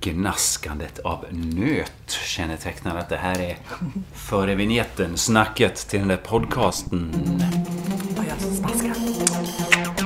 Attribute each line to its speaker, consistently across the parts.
Speaker 1: gnaskandet av nöt kännetecknar att det här är före vignetten, snacket till den där podcasten.
Speaker 2: Och jag smaskar.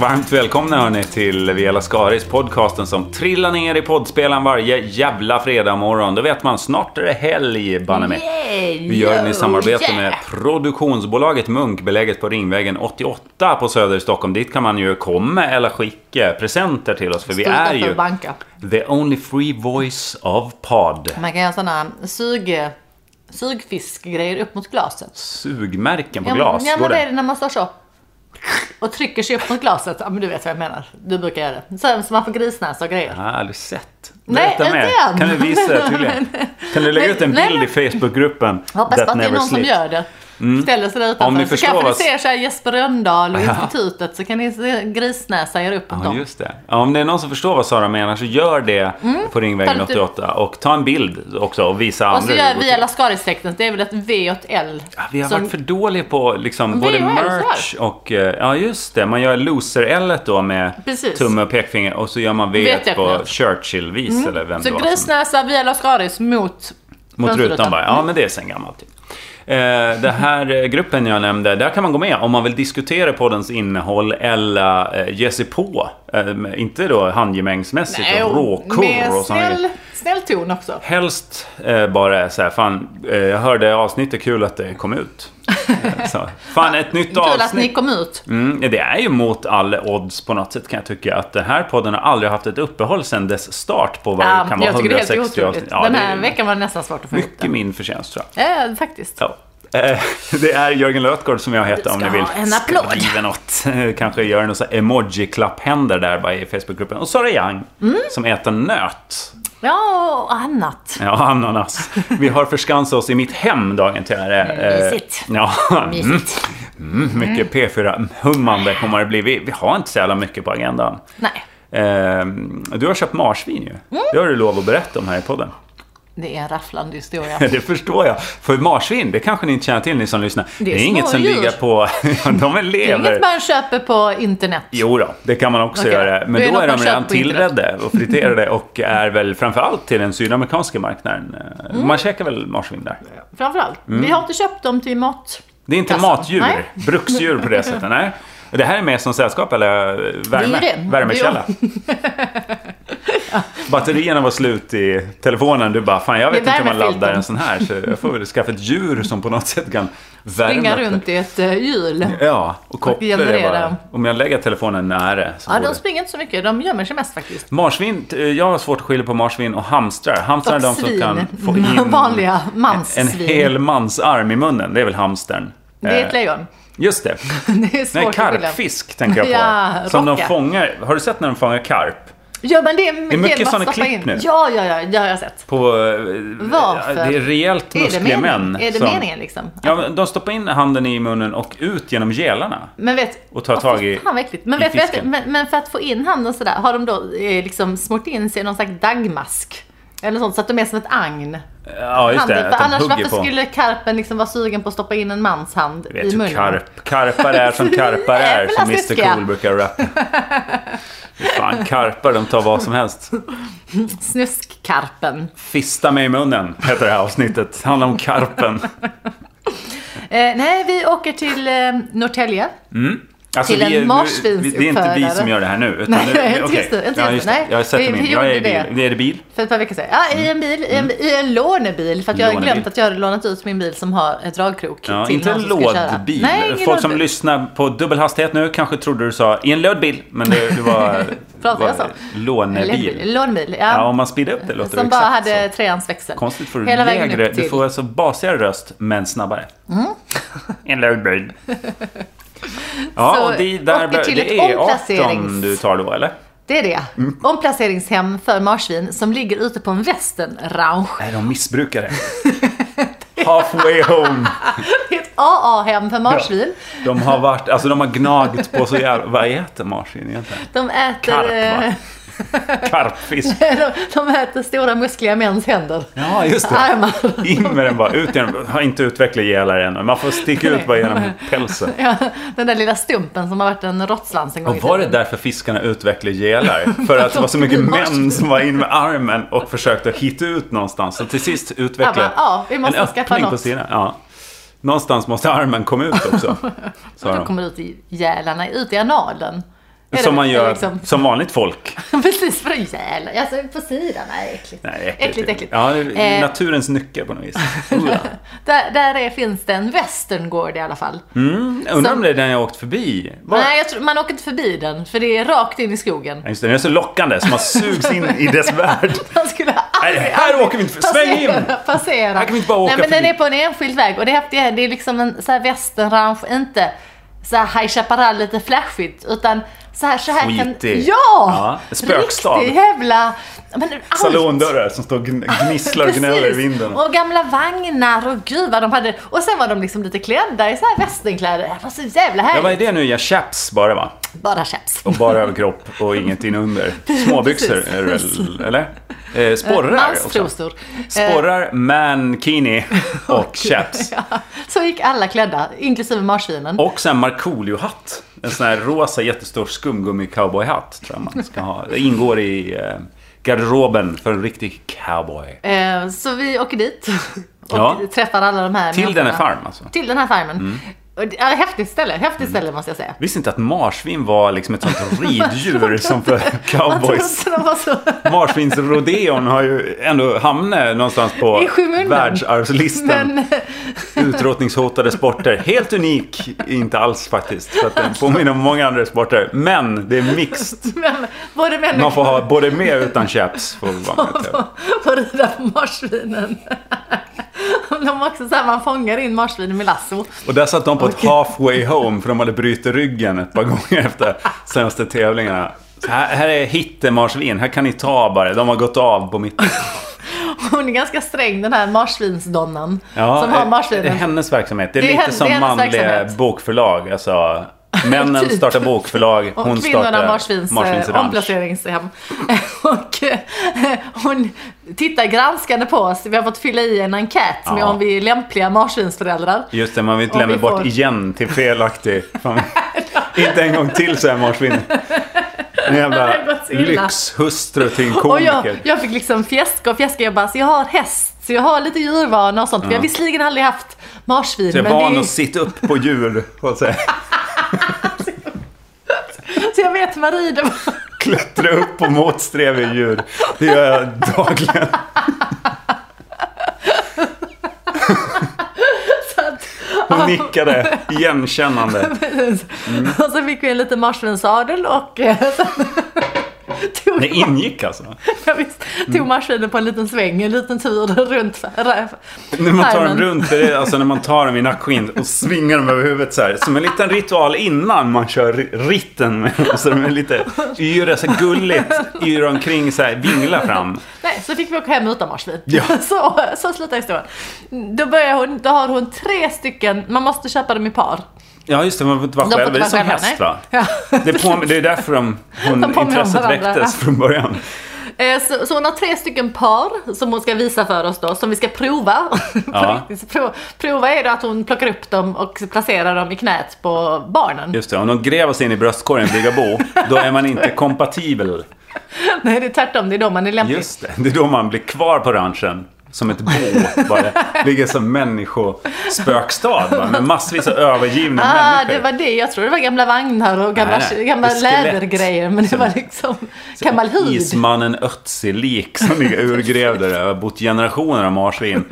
Speaker 1: Varmt välkomna hörni till Viola Skaris podcasten som trillar ner i poddspelaren varje jävla fredag morgon. Då vet man, snart är det helg banne mig.
Speaker 2: Yay!
Speaker 1: Vi gör den i samarbete
Speaker 2: Yeah!
Speaker 1: med produktionsbolaget Munk beläget på Ringvägen 88 på Söder i Stockholm. Dit kan man ju komma eller skicka presenter till oss för vi
Speaker 2: Stå
Speaker 1: är
Speaker 2: utanför
Speaker 1: ju
Speaker 2: banka.
Speaker 1: the only free voice of pod.
Speaker 2: Man kan göra sådana sug, sugfiskgrejer upp mot glaset.
Speaker 1: Sugmärken på
Speaker 2: Ja, men-
Speaker 1: glas,
Speaker 2: Ja,
Speaker 1: går
Speaker 2: men det är
Speaker 1: det?
Speaker 2: det när man står så. Och trycker sig upp mot glaset. Ja, men du vet vad jag menar. Du brukar göra det. Så, så man får grisnäsa och grejer.
Speaker 1: Jag Ah, har aldrig sett.
Speaker 2: Nej,
Speaker 1: Berätta
Speaker 2: inte
Speaker 1: mer.
Speaker 2: än.
Speaker 1: Kan du visa det tydligen? Kan du lägga
Speaker 2: Men-
Speaker 1: ut en
Speaker 2: nej,
Speaker 1: bild i Facebookgruppen?
Speaker 2: Hoppas
Speaker 1: That
Speaker 2: på att det är
Speaker 1: never
Speaker 2: någon som
Speaker 1: sleeps? Mm.
Speaker 2: gör det. Ställer sig där utanför.
Speaker 1: Om ni
Speaker 2: så
Speaker 1: förstår
Speaker 2: kanske ni
Speaker 1: vad-
Speaker 2: ser så här Jesper Rönndahl och
Speaker 1: Ja.
Speaker 2: institutet så kan ni se grisnäsa er upp mot
Speaker 1: Ja,
Speaker 2: dem.
Speaker 1: just det. Ja, om det är någon som förstår vad Sara menar så gör det på Ringvägen
Speaker 2: Mm. Ta lite-
Speaker 1: 88. Och ta en bild också och visa
Speaker 2: Och så
Speaker 1: andra hur det
Speaker 2: gör
Speaker 1: går
Speaker 2: vi
Speaker 1: till.
Speaker 2: alla Skaris-sekten. Det är väl ett V och ett L.
Speaker 1: Ja, vi har
Speaker 2: som-
Speaker 1: varit för dåliga på liksom, både
Speaker 2: är ju här,
Speaker 1: merch och... eh, Ja, just det. Man gör loser-L då med
Speaker 2: Precis.
Speaker 1: tumme och pekfinger och så gör man V
Speaker 2: Vet jag
Speaker 1: på
Speaker 2: knappt.
Speaker 1: Churchill-vis eller vem det
Speaker 2: Mm. Så
Speaker 1: var. som-
Speaker 2: grisnäsa via Los Garis mot
Speaker 1: Mot
Speaker 2: fönsterrutan.
Speaker 1: rutan bara. Ja, men det är sen gammalt. Typ. Eh, Den här eh, gruppen jag nämnde, där kan man gå med om man vill diskutera poddens innehåll eller eh, ge sig på. Eh, Inte då handgemängsmässigt
Speaker 2: Nej,
Speaker 1: och
Speaker 2: med
Speaker 1: råkur och såna grejer.
Speaker 2: snäll, snäll ton också.
Speaker 1: Helst eh, bara så här, fan, eh, jag hörde avsnittet, kul att det kom ut. Eh, så. Fan, ett nytt
Speaker 2: Kul att ni
Speaker 1: avsnitt.
Speaker 2: kom ut.
Speaker 1: Mm, det är ju mot alla odds på något sätt kan jag tycka att den här podden har aldrig haft ett uppehåll sedan dess start på vad
Speaker 2: Ja,
Speaker 1: det kan vara
Speaker 2: jag tycker det är helt
Speaker 1: 160
Speaker 2: otroligt.
Speaker 1: avsnitt. Ja,
Speaker 2: Den
Speaker 1: det
Speaker 2: här
Speaker 1: är
Speaker 2: veckan var det nästan svårt att få ihop
Speaker 1: mycket
Speaker 2: det.
Speaker 1: min förtjänst tror jag.
Speaker 2: Ja, faktiskt.
Speaker 1: Ja. Eh, Det är Jörgen Lötgård som jag heter om
Speaker 2: ska
Speaker 1: ni vill
Speaker 2: ha en applåd.
Speaker 1: skriva något. Eh, Kanske göra någon sån här emoji-klapphänder där bara i Facebookgruppen. Och Sara Young
Speaker 2: Mm.
Speaker 1: som äter nöt.
Speaker 2: Ja, och annat.
Speaker 1: Ja, ananas. Vi har förskansat oss i mitt hem dagen till ära. Eh,
Speaker 2: Mysigt.
Speaker 1: Ja, mm,
Speaker 2: Mysigt.
Speaker 1: mm, mycket P4-hummande kommer det bli. Vi, vi har inte så jävla mycket på agendan.
Speaker 2: Nej,
Speaker 1: Eh, Du har köpt marsvin
Speaker 2: Mm.
Speaker 1: ju. Det har du lov att berätta om här i podden.
Speaker 2: det är en rafflande historia.
Speaker 1: Det förstår jag. För marsvin, det kanske ni inte känner till ni som lyssnar. Det är, inget som
Speaker 2: smådjur.
Speaker 1: ligger på... De
Speaker 2: Det är
Speaker 1: lever.
Speaker 2: inget man köper på internet.
Speaker 1: Jo då, det kan man också
Speaker 2: Okej.
Speaker 1: göra. Men
Speaker 2: Det
Speaker 1: då
Speaker 2: är något
Speaker 1: är de
Speaker 2: man
Speaker 1: redan
Speaker 2: köper på internet.
Speaker 1: tillredda och friterade och är väl framförallt till den sydamerikanska marknaden. Eh,
Speaker 2: Mm.
Speaker 1: Man käkar väl marsvin där?
Speaker 2: Framförallt.
Speaker 1: Mm.
Speaker 2: Vi har inte köpt dem till mat.
Speaker 1: Det är inte
Speaker 2: Alltså,
Speaker 1: matdjur,
Speaker 2: nej.
Speaker 1: bruksdjur på det sättet. Nej. Det här är mer som sällskap eller eh, värme,
Speaker 2: Det är det.
Speaker 1: värmekälla. Batterierna var slut i telefonen. Du bara, fan jag
Speaker 2: Det är
Speaker 1: vet inte hur man
Speaker 2: värmefilten.
Speaker 1: laddar en sån här. Så jag får väl skaffa ett djur som på något sätt kan värma.
Speaker 2: Springa
Speaker 1: upp det."
Speaker 2: runt i ett eh, hjul.
Speaker 1: Ja, och kopplar det
Speaker 2: generera.
Speaker 1: bara. Om jag lägger telefonen nära så
Speaker 2: Ja,
Speaker 1: går
Speaker 2: de
Speaker 1: det.
Speaker 2: springer inte så mycket. De gömmer sig mest faktiskt.
Speaker 1: Marsvin, eh, jag har svårt att skilja på marsvin och hamstrar. Hamstrar är
Speaker 2: Och
Speaker 1: de som
Speaker 2: svin.
Speaker 1: kan få in
Speaker 2: Vanliga
Speaker 1: en
Speaker 2: manssvin.
Speaker 1: hel mansarm i munnen. Det är väl hamstern?
Speaker 2: Det är
Speaker 1: Eh,
Speaker 2: ett lejon.
Speaker 1: Just det.
Speaker 2: Det är svårt
Speaker 1: Nej,
Speaker 2: att skilja.
Speaker 1: karpfisk tänker jag på.
Speaker 2: Ja,
Speaker 1: som de
Speaker 2: rocka.
Speaker 1: fångar. Har du sett när de fångar karp?
Speaker 2: Ja men det är,
Speaker 1: är mycket
Speaker 2: genom att
Speaker 1: såna
Speaker 2: stoppa
Speaker 1: klipp
Speaker 2: in.
Speaker 1: nu.
Speaker 2: Ja, ja, ja, det har jag sett.
Speaker 1: På, Varför?
Speaker 2: Varför?
Speaker 1: Det är rejält
Speaker 2: Är det,
Speaker 1: muskliga
Speaker 2: meningen?
Speaker 1: män.
Speaker 2: är det
Speaker 1: som-
Speaker 2: meningen liksom?
Speaker 1: Ja, men de stoppar in handen i munnen och ut genom gelarna.
Speaker 2: Men vet,
Speaker 1: Och tar
Speaker 2: Åh,
Speaker 1: tag i-
Speaker 2: fan, vad äckligt. men,
Speaker 1: i
Speaker 2: vet, vet,
Speaker 1: fisken.
Speaker 2: men, men för att få in handen sådär, har de då eh, liksom smort in sig i någon slags dagmask? Eller sånt, så att de är som ett agn.
Speaker 1: Ja, just det.
Speaker 2: Handen,
Speaker 1: Att
Speaker 2: för
Speaker 1: de
Speaker 2: annars
Speaker 1: hugger
Speaker 2: varför
Speaker 1: på.
Speaker 2: skulle karpen liksom vara sugen på att stoppa in en mans hand
Speaker 1: Vet
Speaker 2: i
Speaker 1: du,
Speaker 2: munnen? alltså,
Speaker 1: karp, karpar är som karpar är, som
Speaker 2: Jävla
Speaker 1: Mr
Speaker 2: snuskiga.
Speaker 1: Cool brukar rappa. Fan, karpar, de tar vad som helst.
Speaker 2: Snuskkarpen.
Speaker 1: Fista mig i munnen, heter det här avsnittet. Handlar om karpen.
Speaker 2: Eh, nej, vi åker till eh, Norrtälje.
Speaker 1: Alltså,
Speaker 2: Till en
Speaker 1: vi är- nu-
Speaker 2: marsvinsuppfödare.
Speaker 1: Det är inte vi som gör det här nu. Utan
Speaker 2: Nej,
Speaker 1: nu,
Speaker 2: inte
Speaker 1: okej.
Speaker 2: just det, inte
Speaker 1: ja,
Speaker 2: just
Speaker 1: just
Speaker 2: det,
Speaker 1: det.
Speaker 2: nej.
Speaker 1: Jag sätter
Speaker 2: Vi-
Speaker 1: min.
Speaker 2: vi
Speaker 1: Jag är i
Speaker 2: gjorde det.
Speaker 1: bil. Är det bil?
Speaker 2: För ett par veckor sedan. Ja, i en bil, i en, i en lånebil. För att jag har
Speaker 1: Mm. Lånebil.
Speaker 2: glömt att jag har lånat ut min bil som har ett dragkrok
Speaker 1: Ja,
Speaker 2: till
Speaker 1: inte
Speaker 2: någon
Speaker 1: en
Speaker 2: som ska köra.
Speaker 1: lådbil.
Speaker 2: Nej, ingen
Speaker 1: Folk som
Speaker 2: lådbil.
Speaker 1: lyssnar på dubbel hastighet nu kanske trodde du sa i en lådbil, men det, det var,
Speaker 2: Pratar jag så?
Speaker 1: lånebil.
Speaker 2: Lånebil,
Speaker 1: Ja,
Speaker 2: ja.
Speaker 1: om man speedar upp det låter det
Speaker 2: som bara
Speaker 1: exakt
Speaker 2: hade
Speaker 1: så.
Speaker 2: treans växel.
Speaker 1: Konstigt får du
Speaker 2: Hela vägen
Speaker 1: lägre,
Speaker 2: upp till. Mm.
Speaker 1: du får alltså basigare röst men snabbare. En lådbil. Ja,
Speaker 2: Så,
Speaker 1: och det, där,
Speaker 2: åker
Speaker 1: bör-
Speaker 2: till
Speaker 1: det
Speaker 2: ett
Speaker 1: är 18
Speaker 2: omplacerings-
Speaker 1: du tar då, eller?
Speaker 2: Det är det.
Speaker 1: Mm.
Speaker 2: Omplaceringshem för marsvin som ligger ute på en västernranch.
Speaker 1: Är de missbrukare? Halfway home.
Speaker 2: Det är ett AA-hem för marsvin.
Speaker 1: De har varit, alltså de har gnagt på så jävla... Vad äter marsvin egentligen?
Speaker 2: De äter...
Speaker 1: Karp, va?
Speaker 2: eh,
Speaker 1: Karpfisk.
Speaker 2: De, de äter stora muskliga mäns händer.
Speaker 1: Ja, just det.
Speaker 2: Armar.
Speaker 1: In med den bara, ut genom, har inte utvecklat ihjälar än. Man får sticka ut bara genom pälsen.
Speaker 2: Ja, den där lilla stumpen som har varit en råtslans en gång i
Speaker 1: Och var det
Speaker 2: tiden.
Speaker 1: därför fiskarna utvecklade gälar? För att det var så mycket män som var in med armen och försökte hitta ut någonstans. Så till sist utvecklade
Speaker 2: Ja, men, ja, vi måste
Speaker 1: en
Speaker 2: skaffa
Speaker 1: öppning på
Speaker 2: något.
Speaker 1: sidan. Ja. Någonstans måste armen komma ut också. sa
Speaker 2: Då
Speaker 1: de.
Speaker 2: kommer det ut i gälarna, ut i analen. Är
Speaker 1: Som
Speaker 2: det-
Speaker 1: man
Speaker 2: är
Speaker 1: gör
Speaker 2: liksom-
Speaker 1: som vanligt folk.
Speaker 2: Precis, för en gäl. Alltså på sidan, nej äckligt.
Speaker 1: Nej, äckligt.
Speaker 2: äckligt, äckligt.
Speaker 1: Ja, det är
Speaker 2: Eh.
Speaker 1: naturens nyckel på något vis. Ura.
Speaker 2: Där, där är, finns det en västerngård i alla fall.
Speaker 1: Mm, undrar om
Speaker 2: Som-
Speaker 1: det är den jag åkt förbi. Var?
Speaker 2: Nej, jag tror, man åker inte förbi den, för det är rakt in i skogen.
Speaker 1: Ja, Just det, den är så lockande så man sugs in i dess värld.
Speaker 2: Man skulle aldrig,
Speaker 1: Nej, här åker vi inte för- sväng in!
Speaker 2: passera, passera.
Speaker 1: Här kan vi inte bara åka
Speaker 2: Nej, men den
Speaker 1: förbi.
Speaker 2: är på en enskild väg och det häftiga är, det är liksom en så här västernrange, inte så här High Chaparral lite flashigt, utan så här, så här
Speaker 1: Skitig.
Speaker 2: Ja!
Speaker 1: Ja, spökstad.
Speaker 2: Riktig jävla... Men allt.
Speaker 1: Salondörrar som står och gn- gnisslar och gnäller i
Speaker 2: Precis.
Speaker 1: vinden.
Speaker 2: Och gamla vagnar och gud vad de hade. Och sen var de liksom lite klädda i så här västernkläder. Det var så jävla
Speaker 1: Ja, vad är
Speaker 2: härligt.
Speaker 1: det nu? Jag chaps bara va?
Speaker 2: Bara chaps.
Speaker 1: Och bara överkropp och ingenting under. Småbyxor
Speaker 2: Precis.
Speaker 1: är det väl, eller? Eh, sporrar också.
Speaker 2: Manstrosor.
Speaker 1: Sporrar, mankini och chaps.
Speaker 2: Ja, Eh, så gick alla klädda, inklusive marsvinen.
Speaker 1: Och sen Markoolio-hatt. En sån här rosa jättestor skumgummi-cowboyhatt tror jag man ska ha. Det ingår i eh, garderoben för en riktig cowboy.
Speaker 2: Eh, så vi åker dit och
Speaker 1: Ja.
Speaker 2: träffar alla de här
Speaker 1: Till den
Speaker 2: människorna.
Speaker 1: här farm alltså.
Speaker 2: Till den här farmen. Och det är ett häftigt ställe, häftigt
Speaker 1: Mm.
Speaker 2: ställe måste jag säga.
Speaker 1: Visste inte att marsvin var liksom ett sånt riddjur som för
Speaker 2: Man tror
Speaker 1: cowboys.
Speaker 2: inte de var så...
Speaker 1: Marsvinsrodeon har ju ändå hamnat någonstans på
Speaker 2: I skymundan.
Speaker 1: världsarvslistan.
Speaker 2: Men
Speaker 1: Utrotningshotade sporter. Helt unik, inte alls faktiskt. Så att den påminner om många andra sporter. Men det är mixed.
Speaker 2: men både män
Speaker 1: Man
Speaker 2: och
Speaker 1: får ha både med och utan chaps. Får vi vara med till.
Speaker 2: på, på att rida på marsvinen. De var också så här, man fångar in marsvinen med lasso.
Speaker 1: Och där satt de på ett halfway home för de hade brutit ryggen ett par gånger efter senaste tävlingarna. Så här, här är hittemarsvin, här kan ni ta bara. De har gått av på mitten.
Speaker 2: Hon är ganska sträng den här marsvinsdonnan.
Speaker 1: Ja,
Speaker 2: som har
Speaker 1: eh, Det är
Speaker 2: marsvinen.
Speaker 1: hennes verksamhet. Det är,
Speaker 2: Det är
Speaker 1: lite
Speaker 2: hen- det är
Speaker 1: som
Speaker 2: hennes
Speaker 1: manliga
Speaker 2: verksamhet.
Speaker 1: bokförlag. Alltså, männen
Speaker 2: Typ.
Speaker 1: startar bokförlag,
Speaker 2: Och
Speaker 1: hon startar
Speaker 2: kvinnorna marsvins, eh,
Speaker 1: Marsvins
Speaker 2: marsvins
Speaker 1: Ranch.
Speaker 2: omplaceringshem. och eh, hon tittar granskande på oss. Vi har fått fylla i en enkät med
Speaker 1: Ja.
Speaker 2: om vi är lämpliga marsvinsföräldrar.
Speaker 1: Just det, man vill inte
Speaker 2: Och
Speaker 1: lämna
Speaker 2: vi
Speaker 1: bort
Speaker 2: får-
Speaker 1: igen till felaktig familj. inte en gång till så är marsvin. En jävla
Speaker 2: Det har gått så illa.
Speaker 1: lyxhustru till en
Speaker 2: Och
Speaker 1: komiker.
Speaker 2: jag, jag fick liksom fjäska och fjäska. Jag bara, så jag har häst, så jag har lite djurvana och sånt. Vi har visserligen aldrig haft marsvin,
Speaker 1: Så jag
Speaker 2: men
Speaker 1: är
Speaker 2: det är
Speaker 1: van
Speaker 2: ju,
Speaker 1: att sitta upp på djur, så att säga.
Speaker 2: så jag vet hur man rider.
Speaker 1: Klättra upp på motsträviga djur. Det gör jag dagligen.
Speaker 2: Så att,
Speaker 1: Hon nickade igenkännande.
Speaker 2: Och så fick vi en liten marsvinsadel och eh, sen tog,
Speaker 1: Det ingick alltså.
Speaker 2: ja, visst, tog marsvinen på en liten sväng, en liten tur runt ra-
Speaker 1: När man tar dem
Speaker 2: farmen.
Speaker 1: runt, det är alltså när man tar dem i nackskinnet och svingar dem över huvudet så här. Som en liten ritual innan man kör ri- ritten med dem. Så de är lite yra, så här gulligt, yra omkring så här, vingla fram.
Speaker 2: Nej, så fick vi åka hem utan marsvin.
Speaker 1: Ja.
Speaker 2: Så, så slutar historien. Då, börjar hon, då har hon tre stycken, man måste köpa dem i par.
Speaker 1: Ja just det, man får inte vara
Speaker 2: De får
Speaker 1: själv.
Speaker 2: inte
Speaker 1: Det är
Speaker 2: vara
Speaker 1: som
Speaker 2: själva,
Speaker 1: häst
Speaker 2: nej.
Speaker 1: va?
Speaker 2: Ja.
Speaker 1: Det är, på, det är därför de, hon,
Speaker 2: De påminner om
Speaker 1: intresset
Speaker 2: varandra.
Speaker 1: väcktes från början.
Speaker 2: Eh, Så, så hon har tre stycken par som hon ska visa för oss då, som vi ska prova.
Speaker 1: Ja.
Speaker 2: Så Pro, prova är då att hon plockar upp dem och placerar dem i knät på barnen.
Speaker 1: Just det, om de gräver sig in i bröstkorgen och bygger bo, då är man inte kompatibel.
Speaker 2: Nej, det är tvärtom, det är då man är lämplig.
Speaker 1: Just det, det är då man blir kvar på ranchen. Som ett bo, bara. Ligger som människospökstad va? med massvis av övergivna
Speaker 2: Ah,
Speaker 1: människor.
Speaker 2: det var det. Jag tror det var gamla vagnar och gamla,
Speaker 1: Nej, nej.
Speaker 2: gamla
Speaker 1: Det är skelett.
Speaker 2: lädergrejer. Men det var liksom gammal hud.
Speaker 1: Ismannen Ötzi-lik som ligger urgrävd där. har bott generationer av marsvin.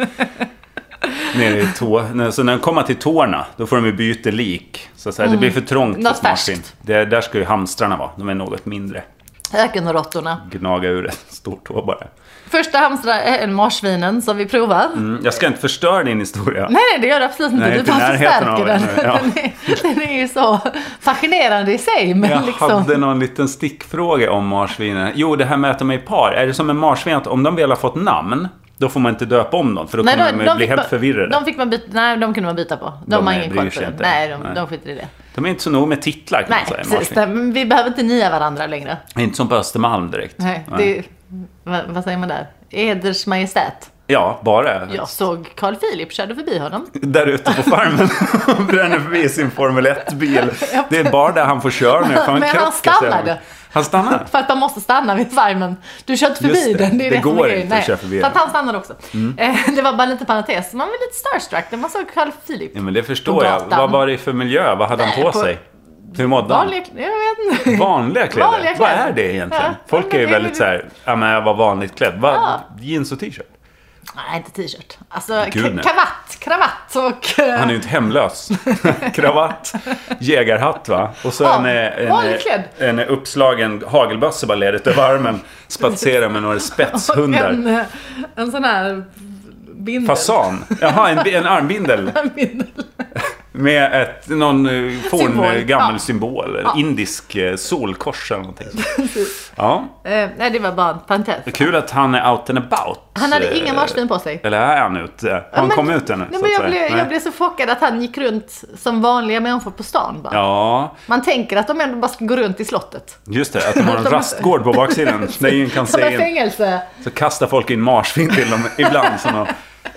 Speaker 1: Nere i tå. när- Så när de kommer till tårna, då får de ju byta lik. Så att säga, det blir för trångt
Speaker 2: Mm. Något
Speaker 1: för marsvin.
Speaker 2: färskt.
Speaker 1: Det, där ska ju hamstrarna vara. De är något mindre.
Speaker 2: Ökenråttorna.
Speaker 1: Gnaga ur en stor tå bara.
Speaker 2: Första hamstra är en marsvinen som vi provar.
Speaker 1: Mm, Jag ska inte förstöra din historia.
Speaker 2: Nej, nej, det gör det absolut inte.
Speaker 1: Nej,
Speaker 2: du
Speaker 1: inte i
Speaker 2: bara
Speaker 1: närheten
Speaker 2: förstärker
Speaker 1: av
Speaker 2: den.
Speaker 1: det nu, ja.
Speaker 2: Den, är, den är ju så fascinerande i sig. Men
Speaker 1: Jag
Speaker 2: liksom...
Speaker 1: hade någon liten stickfråga om marsvinen. Jo, det här med att de är i par. Är det som en marsvin att om de väl har fått namn, då får man inte döpa om dem. För då kommer de, bli
Speaker 2: fick
Speaker 1: helt
Speaker 2: man-
Speaker 1: förvirrade.
Speaker 2: De fick man byta, nej de kunde man byta på. De,
Speaker 1: De
Speaker 2: har
Speaker 1: är-
Speaker 2: ingen
Speaker 1: bryr
Speaker 2: koll på
Speaker 1: sig
Speaker 2: det.
Speaker 1: inte.
Speaker 2: Nej, de,
Speaker 1: Nej. Alltså,
Speaker 2: de skiter i det.
Speaker 1: De är inte så nog med titlar kan
Speaker 2: Nej,
Speaker 1: man säga. i
Speaker 2: precis.
Speaker 1: Marketing.
Speaker 2: Nej, men Vi behöver inte nia varandra längre.
Speaker 1: Inte som på Östermalm direkt.
Speaker 2: Nej,
Speaker 1: Nej.
Speaker 2: det, vad, vad säger man där? Eders Majestät.
Speaker 1: Ja, bara
Speaker 2: Jag såg Carl Philip körde förbi honom.
Speaker 1: där ute på farmen. Han bränner förbi sin Formel 1-bil. Det är bara där han får köra nu. för
Speaker 2: Men han
Speaker 1: krockar så jävla
Speaker 2: stannade.
Speaker 1: mycket. Han stannade?
Speaker 2: För att man måste stanna vid farmen. Du kör inte
Speaker 1: Just
Speaker 2: förbi
Speaker 1: det.
Speaker 2: den. Det, är
Speaker 1: Det
Speaker 2: det, som
Speaker 1: går
Speaker 2: är grejen.
Speaker 1: inte att
Speaker 2: Nej.
Speaker 1: köra förbi
Speaker 2: Så att
Speaker 1: den. Mm.
Speaker 2: han stannade också. Eh, Det var bara en liten parentes. Man var lite starstruck när man såg Carl Philip.
Speaker 1: Ja, men det förstår jag.
Speaker 2: Gatan.
Speaker 1: Vad var det för miljö? Vad hade han på
Speaker 2: På-
Speaker 1: sig? Hur mådde han?
Speaker 2: Vanliga, jag vet inte.
Speaker 1: Vanliga kläder?
Speaker 2: Vanliga
Speaker 1: Vad
Speaker 2: kläder.
Speaker 1: är det egentligen?
Speaker 2: Ja,
Speaker 1: Folk är
Speaker 2: men
Speaker 1: ju
Speaker 2: det är
Speaker 1: väldigt
Speaker 2: ju-
Speaker 1: så här, ja men jag var vanligt klädd. Va?
Speaker 2: Ja.
Speaker 1: Jeans och t-shirt?
Speaker 2: Nej, inte t-shirt. Alltså
Speaker 1: Gud,
Speaker 2: Gud,
Speaker 1: nej.
Speaker 2: kravatt, kravatt och... eh,
Speaker 1: Han är ju inte hemlös. Kravatt, jägarhatt va? Och så
Speaker 2: Ja,
Speaker 1: en, eh, en,
Speaker 2: vanligt klädd.
Speaker 1: en uppslagen hagelbössa bara ledigt över armen. Spatserar med några
Speaker 2: och
Speaker 1: spetshundar.
Speaker 2: en, eh, en sån här bindel.
Speaker 1: Fasan. Jaha, en, bi- en armbindel.
Speaker 2: Bindel.
Speaker 1: Med ett, någon eh, forn,
Speaker 2: Symbol,
Speaker 1: eh, gammal
Speaker 2: ja.
Speaker 1: symbol.
Speaker 2: Ja.
Speaker 1: Indisk eh, solkors eller någonting. Ja,
Speaker 2: Eh, Nej, det var bara en parentes.
Speaker 1: kul att han är out and about.
Speaker 2: Han hade
Speaker 1: Eh,
Speaker 2: ingen marsvin på sig.
Speaker 1: Eller är han ute? Har
Speaker 2: Ja,
Speaker 1: han
Speaker 2: men-
Speaker 1: kommit ut ännu?
Speaker 2: Nej,
Speaker 1: så
Speaker 2: men
Speaker 1: att säga?
Speaker 2: jag, blev,
Speaker 1: Nej.
Speaker 2: jag blev så chockad att han gick runt som vanliga människor på stan bara.
Speaker 1: Ja,
Speaker 2: Man tänker att de ändå bara ska gå runt i slottet.
Speaker 1: just det. Att de har en
Speaker 2: De-
Speaker 1: rastgård på baksidan. Där ingen kan
Speaker 2: Som
Speaker 1: se
Speaker 2: ett
Speaker 1: in.
Speaker 2: fängelse.
Speaker 1: Så kastar folk in marsvin till dem ibland som de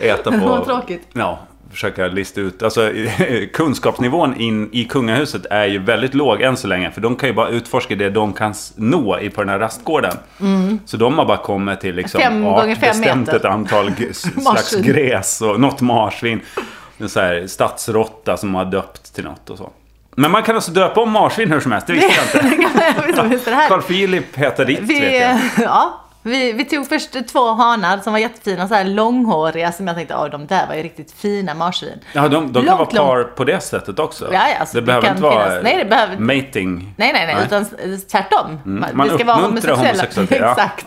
Speaker 1: äter på.
Speaker 2: Vad tråkigt.
Speaker 1: Ja, försöka lista ut. Alltså kunskapsnivån in i kungahuset är ju väldigt låg än så länge. För de kan ju bara utforska det de kan s- nå i på den här rastgården. Så de har bara kommit till liksom
Speaker 2: Mm. Fem
Speaker 1: art,
Speaker 2: gånger fem
Speaker 1: bestämt
Speaker 2: meter.
Speaker 1: ett antal g- s- slags
Speaker 2: Marsvin.
Speaker 1: gräs och något marsvin. En så här stadsråtta som har döpt till något och så. Men man kan alltså döpa om marsvin hur som helst, det visste jag inte.
Speaker 2: Jag vet inte om det är så här.
Speaker 1: Carl Philip heter ditt vet jag.
Speaker 2: Vi, ja, vi, vi tog först två hanar som var jättefina, så här långhåriga som jag tänkte, åh de där var ju riktigt fina marsvin.
Speaker 1: Ja, de, de kan
Speaker 2: Långt,
Speaker 1: vara par på det sättet också.
Speaker 2: Ja, ja, så
Speaker 1: det
Speaker 2: det
Speaker 1: behöver
Speaker 2: kan
Speaker 1: inte vara
Speaker 2: finnas- nej, det behöver-
Speaker 1: mating.
Speaker 2: Nej, nej, nej,
Speaker 1: Nej. Mm.
Speaker 2: utan s- tvärtom.
Speaker 1: Man
Speaker 2: Vi ska
Speaker 1: uppmuntrar
Speaker 2: vara homosexuella.
Speaker 1: homosexualitet, ja.
Speaker 2: Exakt.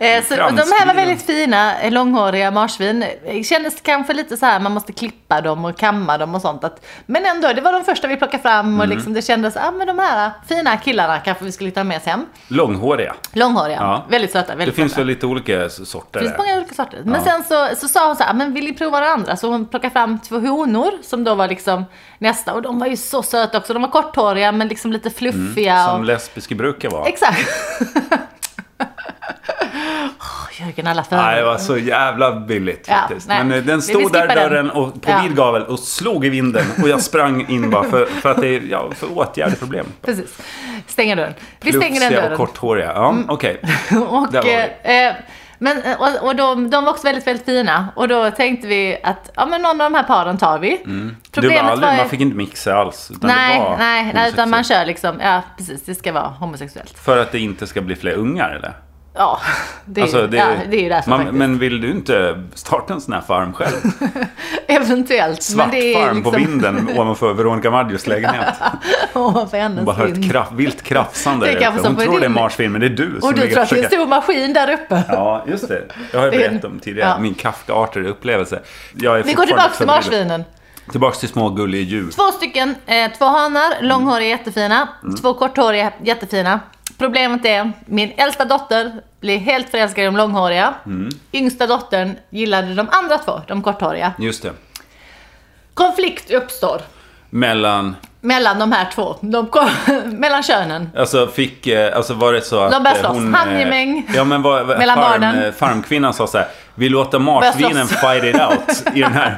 Speaker 1: Ja.
Speaker 2: Eh, Så, och de här var
Speaker 1: Framskriven.
Speaker 2: väldigt fina, eh, långhåriga marsvin. Eh, Kändes kanske lite så här, man måste klippa dem och kamma dem och sånt. Att, men ändå, det var de första vi plockade fram och
Speaker 1: Mm.
Speaker 2: liksom, det kändes, ja ah, men de här fina killarna kanske vi skulle ta med oss hem.
Speaker 1: Långhåriga.
Speaker 2: Långhåriga,
Speaker 1: Ja.
Speaker 2: väldigt söta.
Speaker 1: Det
Speaker 2: Väldigt söta.
Speaker 1: finns väl lite olika s- sorter.
Speaker 2: Det finns
Speaker 1: där.
Speaker 2: många olika sorter. Men sen så, så sa hon så här, "Ah, men vill ni prova det andra? Så hon plockade fram två honor som då var liksom nästa. Och de var ju så söta också. De var korthåriga men liksom lite fluffiga.
Speaker 1: Mm, Som
Speaker 2: och,
Speaker 1: lesbiska brukar vara.
Speaker 2: Exakt. Åh, Jörgen, alla
Speaker 1: Nej, det
Speaker 2: fördomar.
Speaker 1: var så jävla billigt
Speaker 2: Ja,
Speaker 1: faktiskt.
Speaker 2: nej.
Speaker 1: Men eh, den
Speaker 2: Vi- vi
Speaker 1: stod där i
Speaker 2: skippar den.
Speaker 1: dörren och på
Speaker 2: Ja.
Speaker 1: vid gavel och slog i vinden. Och jag sprang in bara för, för att det är ja, för åtgärdeproblem.
Speaker 2: Precis. Stänger dörren. Vi stänger den
Speaker 1: Lufsiga och
Speaker 2: dörren. Mm.
Speaker 1: korthåriga. Ja, okej.
Speaker 2: Och,
Speaker 1: Där var
Speaker 2: eh, men, eh, och, och de, de var också väldigt, väldigt fina. Och då tänkte vi att ja, men någon av de här paren tar vi.
Speaker 1: Det Mm. var
Speaker 2: Problemet
Speaker 1: aldrig,
Speaker 2: ju-
Speaker 1: man fick inte mixa alls. Utan
Speaker 2: Nej,
Speaker 1: det var
Speaker 2: nej, nej, utan man
Speaker 1: homosexuellt.
Speaker 2: kör liksom, ja precis, det ska vara homosexuellt.
Speaker 1: För att det inte ska bli fler ungar eller?
Speaker 2: Ja, det är,
Speaker 1: Alltså,
Speaker 2: ju-
Speaker 1: det,
Speaker 2: ja, det är ju därför
Speaker 1: man,
Speaker 2: faktiskt.
Speaker 1: Men vill du inte starta en sån här farm själv?
Speaker 2: Eventuellt.
Speaker 1: Svart
Speaker 2: men det är liksom-
Speaker 1: farm på vinden ovanför Veronica Maggios lägenhet.
Speaker 2: Ovanför
Speaker 1: Hon bara
Speaker 2: hennes
Speaker 1: hör ett
Speaker 2: vind.
Speaker 1: kraft, vilt krafsande.
Speaker 2: Det är
Speaker 1: där
Speaker 2: kanske
Speaker 1: uppe. Hon
Speaker 2: som på
Speaker 1: tror det är
Speaker 2: din-
Speaker 1: marsvin, men det är du som
Speaker 2: Och du
Speaker 1: ligger
Speaker 2: tror att det är en
Speaker 1: försöker-
Speaker 2: stor maskin där uppe.
Speaker 1: Ja, just det. Jag har ju
Speaker 2: Det är-
Speaker 1: berättat om tidigare.
Speaker 2: ja.
Speaker 1: Min Kafka-Arter-upplevelse. Jag är
Speaker 2: Vi går
Speaker 1: fortfarande
Speaker 2: tillbaka till
Speaker 1: förbryllad.
Speaker 2: marsvinen.
Speaker 1: Tillbaka till små gulliga djur.
Speaker 2: Två stycken, eh, två
Speaker 1: Mm.
Speaker 2: hanar, långhåriga jättefina. Två korthåriga jättefina. Problemet är, min äldsta dotter blev helt förälskad i de långhåriga.
Speaker 1: Mm.
Speaker 2: Yngsta dottern gillade de andra två, de korthåriga.
Speaker 1: Just det.
Speaker 2: Konflikt uppstår.
Speaker 1: Mellan...
Speaker 2: Mellan de här två. De kom, mellan könen.
Speaker 1: Alltså fick... eh, Alltså var det så att
Speaker 2: De började
Speaker 1: eh,
Speaker 2: slåss.
Speaker 1: hon... eh,
Speaker 2: Handgemäng.
Speaker 1: Ja men var, var,
Speaker 2: Mellan
Speaker 1: farm,
Speaker 2: barnen.
Speaker 1: eh, farmkvinnan sa så här. Vi låter marsvinen
Speaker 2: slåss."
Speaker 1: fight it out i den här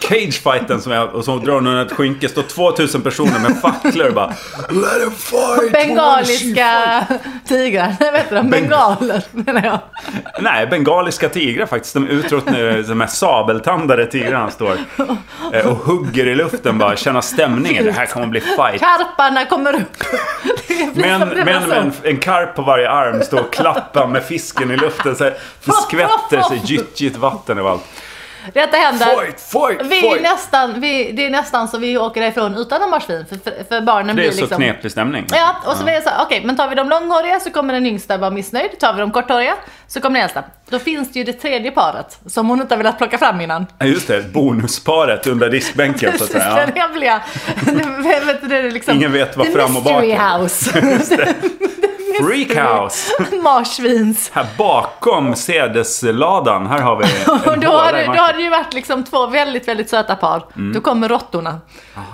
Speaker 1: cagefighten som jag... Och så drar hon under ett skynke. Står 2000 personer med facklor och bara... Let them fight!
Speaker 2: Bengaliska tigrar. Nej, vet du, de bengaler menar jag.
Speaker 1: Nej, bengaliska tigrar faktiskt. De utrotade de här sabeltandade tigrarna står eh, och hugger i luften bara. Känna stämningen. Det här kommer bli fight.
Speaker 2: Karparna kommer upp. Det blir
Speaker 1: Men,
Speaker 2: som Alltså, det
Speaker 1: men
Speaker 2: var så.
Speaker 1: med en, en karp på varje arm står och klappar med fisken i luften. Så här, det skvätter sig gyttjigt vatten och allt.
Speaker 2: Detta händer.
Speaker 1: Fight, fight,
Speaker 2: Vi är
Speaker 1: fight!
Speaker 2: nästan, vi, det är nästan så vi åker därifrån utan en marsvin. För, för, för barnen
Speaker 1: Det
Speaker 2: blir
Speaker 1: är så
Speaker 2: liksom...
Speaker 1: knepig stämning.
Speaker 2: Ja, och så blir det så här, okej, men tar vi de långhåriga så kommer den yngsta vara missnöjd. Tar vi de korthåriga så kommer den äldsta. Då finns det ju det tredje paret som hon inte har velat plocka fram innan.
Speaker 1: Ja, Just det, bonusparet under diskbänken så att
Speaker 2: Precis,
Speaker 1: säga.
Speaker 2: den hemliga. vet du, det är liksom,
Speaker 1: Ingen vet vad
Speaker 2: the
Speaker 1: fram och bak
Speaker 2: mystery
Speaker 1: är.
Speaker 2: house.
Speaker 1: Freakhouse!
Speaker 2: Marsvins.
Speaker 1: Här bakom sädesladan, här har vi
Speaker 2: Och
Speaker 1: en
Speaker 2: då har,
Speaker 1: håla i Mm.
Speaker 2: det- då
Speaker 1: marken.
Speaker 2: har det ju varit liksom två väldigt, väldigt söta par. Då kommer råttorna.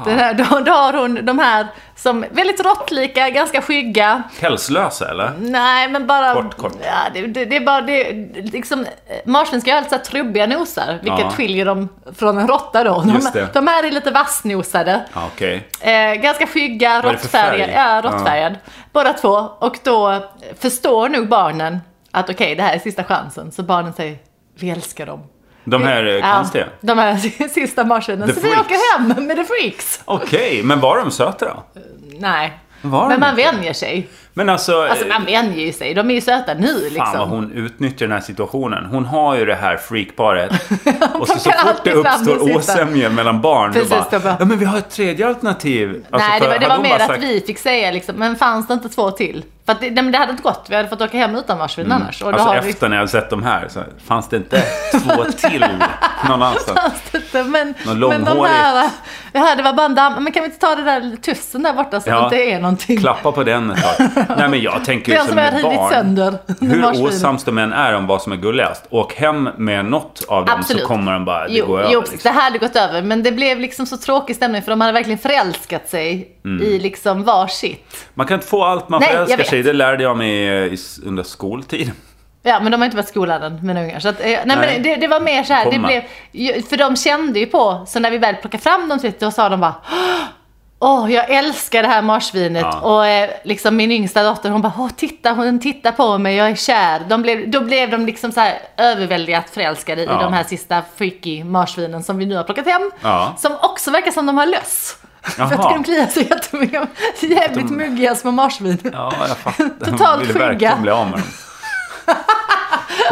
Speaker 2: Det här, då, då har hon de här som väldigt råttlika, ganska skygga.
Speaker 1: Pälslösa eller?
Speaker 2: Nej, men bara...
Speaker 1: Kort, kort.
Speaker 2: Ja, det, det, det är bara... Det, liksom, eh, marsvin ska ju ha lite så här trubbiga nosar, vilket
Speaker 1: Ja.
Speaker 2: skiljer dem från en råtta då. De,
Speaker 1: Just det.
Speaker 2: de här är lite vassnosade.
Speaker 1: Ja, Okej.
Speaker 2: Eh, ganska skygga,
Speaker 1: Vad är det för
Speaker 2: råttfärgad.
Speaker 1: färg?
Speaker 2: Ja, råttfärgad. Båda två. Och då förstår nog barnen att okej, det här är sista chansen. Så barnen säger, vi älskar dem.
Speaker 1: De här eh,
Speaker 2: Ja,
Speaker 1: konstiga.
Speaker 2: De här sista marsvinen.
Speaker 1: The
Speaker 2: Så vi
Speaker 1: Freaks.
Speaker 2: åker hem med the freaks.
Speaker 1: Okej, men var de söta då?
Speaker 2: Nej.
Speaker 1: Var de
Speaker 2: Men man
Speaker 1: inte?
Speaker 2: vänjer sig.
Speaker 1: Men alltså... eh,
Speaker 2: Alltså man vänjer ju sig. De är ju söta nu liksom.
Speaker 1: Fan vad hon utnyttjar den här situationen. Hon har ju det här freakparet. Och så, så
Speaker 2: plockar
Speaker 1: fort det
Speaker 2: alltid fram det
Speaker 1: uppstår
Speaker 2: sista.
Speaker 1: osämja mellan barn,
Speaker 2: Precis,
Speaker 1: då
Speaker 2: då
Speaker 1: bara,
Speaker 2: bara-
Speaker 1: ja men vi har ett tredje alternativ. Alltså,
Speaker 2: Nej,
Speaker 1: för
Speaker 2: det var, det
Speaker 1: hade
Speaker 2: var
Speaker 1: hon
Speaker 2: mer
Speaker 1: bara
Speaker 2: att vi fick säga liksom, men fanns det inte två till? För att det, nej, men det hade inte gått, vi hade fått åka hem utan marsvin annars. Och då
Speaker 1: Alltså
Speaker 2: har vi
Speaker 1: efter när jag hade sett de här, så fanns det inte två till någon annanstans?
Speaker 2: fanns det inte, men,
Speaker 1: Någon
Speaker 2: men de
Speaker 1: långhårig-
Speaker 2: här, ja, det var bara en damm, men kan vi inte ta det där tussen där borta så
Speaker 1: Ja.
Speaker 2: att det inte är någonting?
Speaker 1: Klappa på den ett tag. Nej men jag tänker ju
Speaker 2: Den
Speaker 1: som
Speaker 2: som jag har
Speaker 1: med
Speaker 2: rivit
Speaker 1: barn.
Speaker 2: sönder.
Speaker 1: Hur
Speaker 2: marsvinen.
Speaker 1: osams de än är om vad som är gulligast, åk hem med något av dem
Speaker 2: Absolut.
Speaker 1: så kommer de bara, det
Speaker 2: Jo,
Speaker 1: går
Speaker 2: jo
Speaker 1: över. Liksom.
Speaker 2: det här hade gått över, men det blev liksom så tråkig stämning för de hade verkligen förälskat sig
Speaker 1: Mm.
Speaker 2: i liksom varsitt.
Speaker 1: Man kan inte få allt man
Speaker 2: Nej, jag
Speaker 1: förälskar
Speaker 2: vet.
Speaker 1: sig i. Det lärde jag mig eh, i, under skoltid.
Speaker 2: Ja, men de har inte varit i skolan än, mina ungar. Så att, eh, nej,
Speaker 1: Nej.
Speaker 2: men det, det var mer så här, det
Speaker 1: Komma.
Speaker 2: blev, ju- för de kände ju på, så när vi väl plockade fram dem, då sa de bara "Åh, Åh, jag älskar det här marsvinet.
Speaker 1: Ja.
Speaker 2: Och eh, liksom min yngsta dotter, hon bara, Åh, titta, hon tittar på mig, jag är kär. De blev, då blev de liksom så här överväldigat förälskade
Speaker 1: Ja.
Speaker 2: i de här sista freaky marsvinen som vi nu har plockat hem.
Speaker 1: Ja.
Speaker 2: Som också verkar som de har löss.
Speaker 1: Jaha.
Speaker 2: För att de kliar sig jättemycket. Jävligt muggiga små marsvin.
Speaker 1: Ja, jag fattar.
Speaker 2: Totalt
Speaker 1: ville
Speaker 2: skygga.
Speaker 1: verkligen bli av med dem.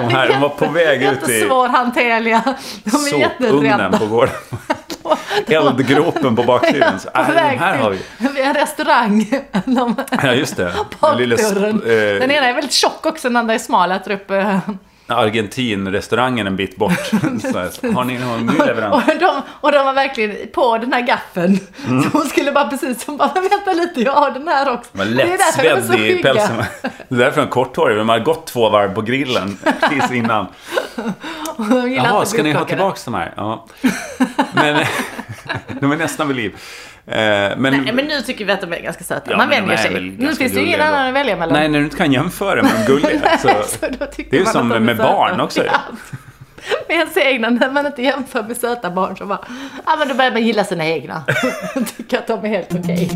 Speaker 1: De här, de var på väg ut i
Speaker 2: Jättesvårhanterliga. De är
Speaker 1: sopugnen
Speaker 2: jätterädda.
Speaker 1: på gården. Eldgropen på baksidan. Så,
Speaker 2: På
Speaker 1: äh, den
Speaker 2: väg
Speaker 1: här har vi.
Speaker 2: till vi har en restaurang. De,
Speaker 1: Ja, just det. Den lille
Speaker 2: bakdörren.
Speaker 1: sp- eh,
Speaker 2: Den ena är väldigt tjock också, den andra är smal. Jag tror upp, eh,
Speaker 1: Argentinrestaurangen en bit bort. Så här, har ni någon ny
Speaker 2: och,
Speaker 1: leverans?
Speaker 2: de, och de var verkligen på den här gaffeln.
Speaker 1: Mm.
Speaker 2: Så hon skulle bara precis, hon bara vänta lite, jag har den här också.
Speaker 1: De var
Speaker 2: Det är därför de är så
Speaker 1: lättsvedd i
Speaker 2: skygga.
Speaker 1: pälsen. Det är därför de är korthåriga. De har gått två varv på grillen precis innan.
Speaker 2: De gillar inte
Speaker 1: Jaha,
Speaker 2: att
Speaker 1: ska
Speaker 2: bli
Speaker 1: ni ha
Speaker 2: upplockade.
Speaker 1: tillbaka de här? Ja. Men de är nästan vid liv. Eh, Men,
Speaker 2: Nej, men nu tycker vi att de är ganska söta.
Speaker 1: Ja,
Speaker 2: Man
Speaker 1: men de
Speaker 2: vänjer
Speaker 1: är
Speaker 2: sig.
Speaker 1: väl
Speaker 2: Nu
Speaker 1: ganska
Speaker 2: finns det ju ingen
Speaker 1: gulliga
Speaker 2: annan
Speaker 1: då.
Speaker 2: att välja mellan.
Speaker 1: Nej, när du inte kan jämföra med de gulliga så...
Speaker 2: Så då tyckte
Speaker 1: Det är ju
Speaker 2: man
Speaker 1: som
Speaker 2: att de
Speaker 1: med
Speaker 2: söta.
Speaker 1: barn också ju.
Speaker 2: Ja. Med ens egna, när man inte jämför med söta barn så bara, ja men då börjar man gilla sina egna. Tycker att de är helt okej.